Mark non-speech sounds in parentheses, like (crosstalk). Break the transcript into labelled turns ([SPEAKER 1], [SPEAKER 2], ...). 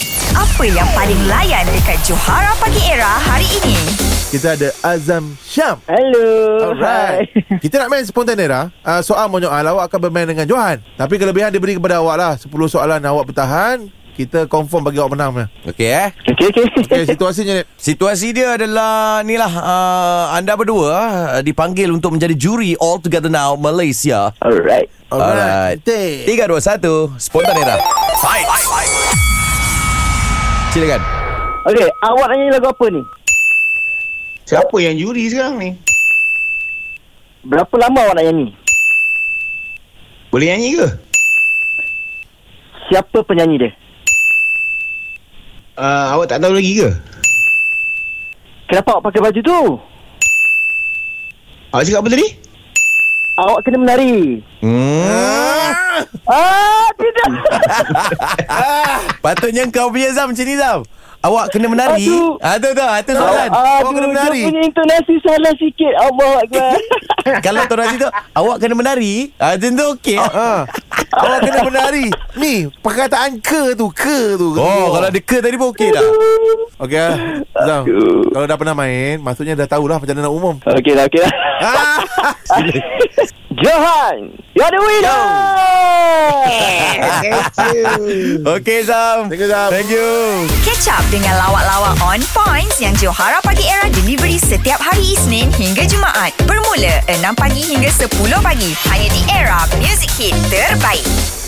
[SPEAKER 1] Siapa yang paling layan dekat Johara Pagi Era hari ini?
[SPEAKER 2] Kita ada Azam Syam.
[SPEAKER 3] Hello.
[SPEAKER 2] Alright.
[SPEAKER 3] Hi. (laughs)
[SPEAKER 2] Kita nak main spontan era. Uh, soal menyoal awak akan bermain dengan Johan. Tapi kelebihan dia beri kepada awak lah. 10 soalan awak bertahan. Kita confirm bagi awak menang.
[SPEAKER 4] Okey eh.
[SPEAKER 3] Okay, okay.
[SPEAKER 2] Okay,
[SPEAKER 3] (laughs)
[SPEAKER 2] situasinya ni.
[SPEAKER 4] Situasi dia adalah ni lah uh, anda berdua uh, dipanggil untuk menjadi juri All Together Now Malaysia.
[SPEAKER 3] Alright.
[SPEAKER 4] Alright.
[SPEAKER 2] Tiga.
[SPEAKER 4] 3 2 1 spontan era. Fight. Silakan.
[SPEAKER 3] Okay, awak nak nyanyi lagu apa ni?
[SPEAKER 5] Siapa yang juri sekarang ni?
[SPEAKER 3] Berapa lama awak nak nyanyi?
[SPEAKER 5] Boleh nyanyi ke?
[SPEAKER 3] Siapa penyanyi dia?
[SPEAKER 5] Uh, awak tak tahu lagi ke?
[SPEAKER 3] Kenapa awak pakai baju tu?
[SPEAKER 5] Awak cakap apa tadi?
[SPEAKER 3] Awak kena menari.
[SPEAKER 4] Hmm.
[SPEAKER 3] Ah,
[SPEAKER 2] (laughs)
[SPEAKER 3] tidak.
[SPEAKER 4] Patutnya kau punya Zam macam ni Zam. Awak kena menari.
[SPEAKER 3] Aduh.
[SPEAKER 4] Ah tu tu, ah, tu
[SPEAKER 2] kan?
[SPEAKER 4] soalan.
[SPEAKER 3] Aduh,
[SPEAKER 4] awak kena menari.
[SPEAKER 3] dia punya intonasi salah sikit. Allah
[SPEAKER 2] (laughs)
[SPEAKER 3] Akbar.
[SPEAKER 4] Kalau tu orang situ awak kena menari, ah tu tu okey.
[SPEAKER 2] Ha. Awak kena menari. Ni, perkataan ke tu. Ke tu.
[SPEAKER 4] Oh, kalau dia ke tadi pun okey dah.
[SPEAKER 2] Okay. Azam.
[SPEAKER 3] Aduh.
[SPEAKER 2] Kalau dah pernah main, maksudnya dah tahulah macam mana nak umum.
[SPEAKER 3] okay dah, okay lah. dah.
[SPEAKER 2] Ah.
[SPEAKER 3] (laughs) Johan, you're the winner. (laughs)
[SPEAKER 4] Okey Zam.
[SPEAKER 2] Thank you, Zam.
[SPEAKER 4] Thank you.
[SPEAKER 1] Catch up dengan lawak-lawak on points yang Johara Pagi Era delivery setiap hari Isnin hingga Jumaat. Bermula 6 pagi hingga 10 pagi. Hanya di Era Music Hit Terbaik.